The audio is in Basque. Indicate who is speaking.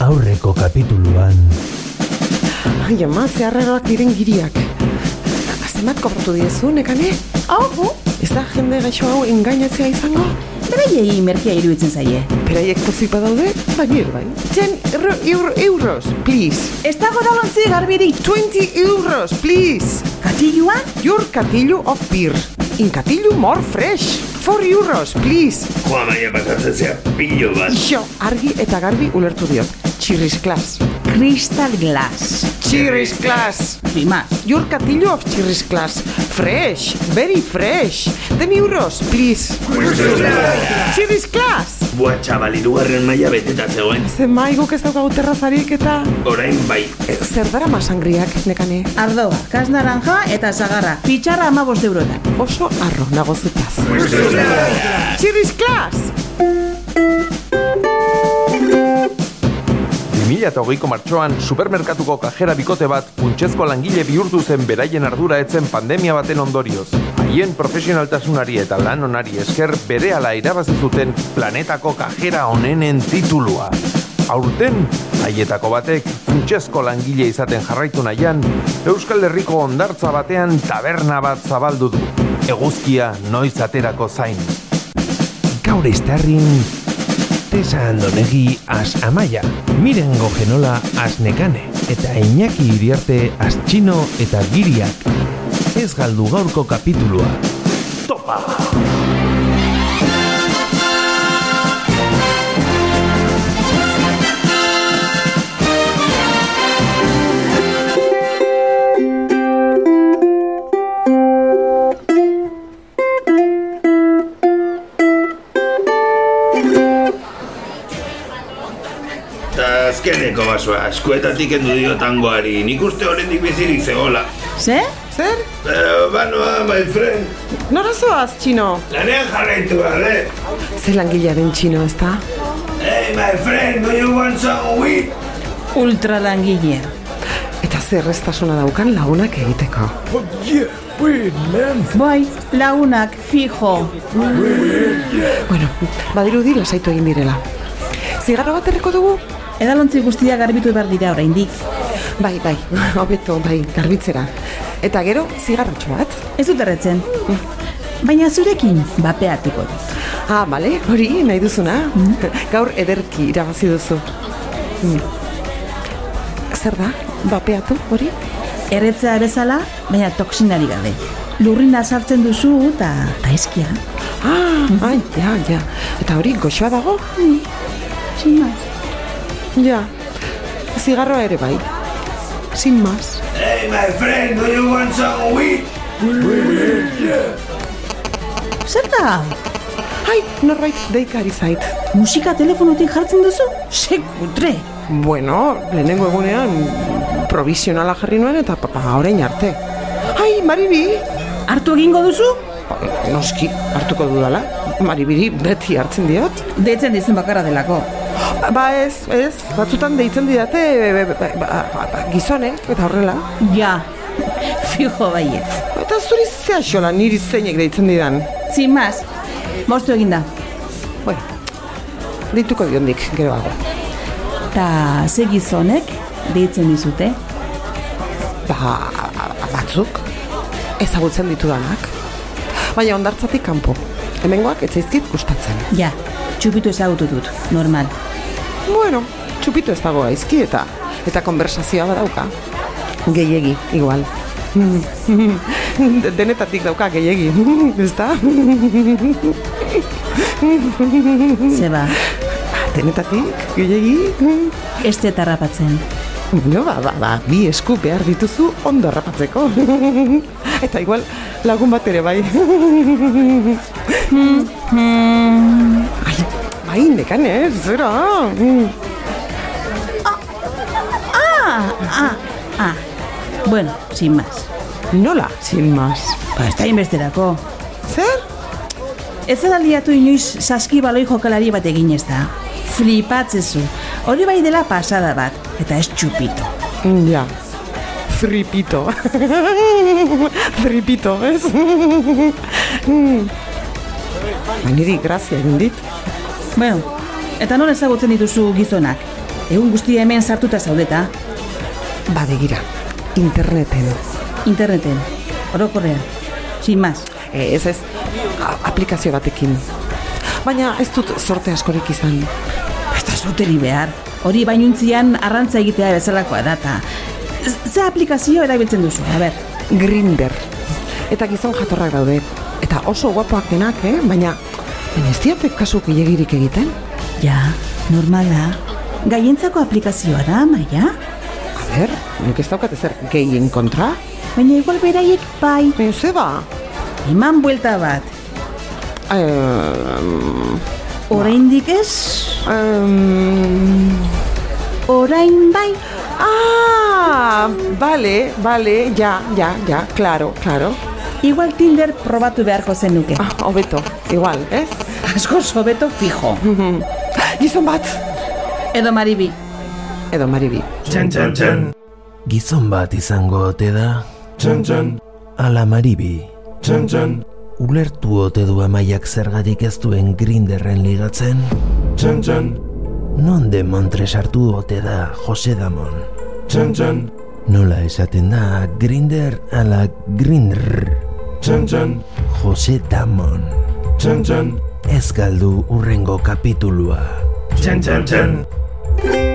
Speaker 1: aurreko kapituluan.
Speaker 2: Ai, ama, zeharreroak diren giriak. Zenbat kobratu diezu, nekane?
Speaker 3: Ojo,
Speaker 2: Ez da jende gaixo hau engainatzea izango?
Speaker 3: beraiei merkea iruditzen zaie.
Speaker 2: Beraiek tozipa daude, baina bai. 10 euro, euro, euros, please.
Speaker 3: Ez dago dalontzi garbirik.
Speaker 2: 20 euros, please.
Speaker 3: Katilua?
Speaker 2: Your katilu of beer. In katilu more fresh. 4 euros, please.
Speaker 4: Joa maia pasatzen zea pilo bat.
Speaker 2: Ixo, argi eta garbi ulertu diot. Chirris class.
Speaker 3: Crystal Glass.
Speaker 2: Chirris class.
Speaker 3: Prima.
Speaker 2: Your katilu of chirris class. Fresh, very fresh. 10 euros, please. Chirris class.
Speaker 4: Bua txabal, irugarren maila beteta zegoen.
Speaker 2: Zemai bai, guk ez daukagu terrazarik eta...
Speaker 4: Orain bai, ez.
Speaker 2: Zer dara masangriak, nekane?
Speaker 3: Ardoa, kas naranja eta zagarra. Pitxarra amabost eurotan.
Speaker 2: Oso arro nago zutaz. Chirris class.
Speaker 5: 2008ko martxoan supermerkatuko kajera bikote bat funtsezko langile bihurtu zen beraien ardura etzen pandemia baten ondorioz. Haien profesionaltasunari eta lan onari esker berehala irabazi zuten planetako kajera onenen titulua. Aurten, haietako batek funtsezko langile izaten jarraitu nahian, Euskal Herriko ondartza batean taberna bat zabaldu du. Eguzkia noiz aterako zain.
Speaker 1: Gaur iztarrin, Tesa Andonegi as Amaia, Miren Gogenola as Nekane, eta Iñaki Iriarte as Txino eta Giriak. Ez galdu gaurko kapitulua.
Speaker 4: Ta azkeneko basoa, eskuetatik endu dio tangoari. Nik uste horrendik bizirik zegola.
Speaker 3: Ze?
Speaker 2: Zer?
Speaker 4: Eh, banoa, my friend.
Speaker 2: Nora zoaz, txino?
Speaker 4: Lanean jarraitu behar, eh?
Speaker 2: Ze langilearen txino, ez da?
Speaker 4: Hey, my friend, do you want some weed?
Speaker 3: Ultra langile.
Speaker 2: Eta zer restasuna daukan lagunak egiteko.
Speaker 3: Bai, launak, fijo.
Speaker 2: Bueno, badirudi lasaitu egin direla. Zigarro bat erreko dugu?
Speaker 3: Edalontzi guztia garbitu behar dira oraindik.
Speaker 2: Bai, bai, hobeto, bai, garbitzera. Eta gero, zigarrotxo bat?
Speaker 3: Ez dut erretzen. Baina zurekin bapeatuko dut.
Speaker 2: Ah, bale, hori, nahi duzuna. Gaur ederki irabazi duzu. Mm. Zer da, bapeatu hori?
Speaker 3: Erretzea bezala, baina toksinari gabe. Lurrina sartzen duzu eta taizkia.
Speaker 2: Ah, ai, ja, ja. Eta hori, goxoa dago?
Speaker 3: Sin más.
Speaker 2: Ja. Zigarroa ere bai. Sin más.
Speaker 4: Hey, my friend, do you want some weed?
Speaker 3: Zer da?
Speaker 2: Ai, norbait deika ari zait.
Speaker 3: Musika telefonotik jartzen duzu? Sekutre!
Speaker 2: Bueno, lehenengo egunean provisionala jarri nuen eta papa orain arte. Ai, Maribi!
Speaker 3: Hartu egingo duzu?
Speaker 2: Noski, hartuko dudala. Maribiri beti hartzen diot.
Speaker 3: Deitzen dizun bakarra delako.
Speaker 2: Ba ez, ez, batzutan deitzen didate e, e, ba, ba, ba, gizonek eta horrela.
Speaker 3: Ja, fijo baiet.
Speaker 2: Eta zuri zea xola niri zeinek deitzen didan.
Speaker 3: Sin más, moztu eginda.
Speaker 2: Bueno, dituko diondik geroago.
Speaker 3: Ta ze gizonek deitzen dizute?
Speaker 2: Ba, batzuk, ezagutzen ditudanak. Baina ondartzatik kanpo. Hemengoak ez zaizkit gustatzen.
Speaker 3: Ja, txupitu ezagutu dut, normal.
Speaker 2: Bueno, txupitu ez dago aizki eta eta konversazioa badauka. Gehiegi, igual. De- Denetatik dauka gehiegi, ezta?
Speaker 3: Zeba,
Speaker 2: Denetatik, gehiegi.
Speaker 3: ez te tarrapatzen.
Speaker 2: Bueno, ba, ba, ba, bi esku behar dituzu ondo harrapatzeko. eta igual lagun bat ere bai. Ai, bai, nekan ez, zera.
Speaker 3: Ah, bueno, sin más.
Speaker 2: Nola, sin más.
Speaker 3: Ba, ez da inbesterako.
Speaker 2: Zer?
Speaker 3: Ez zara liatu inoiz saski baloi jokalari bat egin ez da. Flipatzezu. Hori bai dela pasada bat, eta ez txupitu.
Speaker 2: Ja. Fripito. Fripito, ez? Ba, niri grazia egin dit.
Speaker 3: Bueno, eta non ezagutzen dituzu gizonak? Egun guztia hemen sartuta zaudeta,
Speaker 2: Ba, begira, interneten.
Speaker 3: interneten, orokorrean, sin más.
Speaker 2: E, ez ez, a- aplikazio batekin. Baina ez dut sorte askorik izan.
Speaker 3: Ez da zuteri behar, hori bainuntzian arrantza egitea bezalakoa data. Ze aplikazio erabiltzen duzu, a ber,
Speaker 2: Grinder. Eta gizon jatorrak daude. Eta oso guapoak denak, eh? Baina, baina ez diate kasu gehiagirik egiten?
Speaker 3: ja, normala. Gaientzako aplikazioa da, maia?
Speaker 2: A ber, nik ez daukat ezer gehien kontra?
Speaker 3: Baina igual beraiek bai,
Speaker 2: Baina, ze ba?
Speaker 3: eman buelta bat.
Speaker 2: Em,
Speaker 3: Oraindik ez,
Speaker 2: em,
Speaker 3: orain bai.
Speaker 2: ah, vale, vale, ja, ja, ja, claro, claro.
Speaker 3: Igual Tinder probatu beharko zenuke.
Speaker 2: Ah, hobeto, igual, ez?
Speaker 3: Asko sobeto fijo.
Speaker 2: Gizon bat!
Speaker 3: Edo maribi.
Speaker 2: Edo maribi.
Speaker 4: Txan, txan, txan.
Speaker 1: Gizon bat izango ote da,
Speaker 4: Txan, txan,
Speaker 1: ala maribi.
Speaker 4: txan, txan,
Speaker 1: Ulertu ote du amaiak zergatik ez duen grinderren ligatzen?
Speaker 4: txan, txan,
Speaker 1: Non de montre sartu ote da Jose Damon?
Speaker 4: txan, txan,
Speaker 1: Nola esaten da grinder ala grindr
Speaker 4: txan, txan,
Speaker 1: Jose Damon.
Speaker 4: txan, txan,
Speaker 1: Ez galdu urrengo kapitulua.
Speaker 4: txan, txan, txan.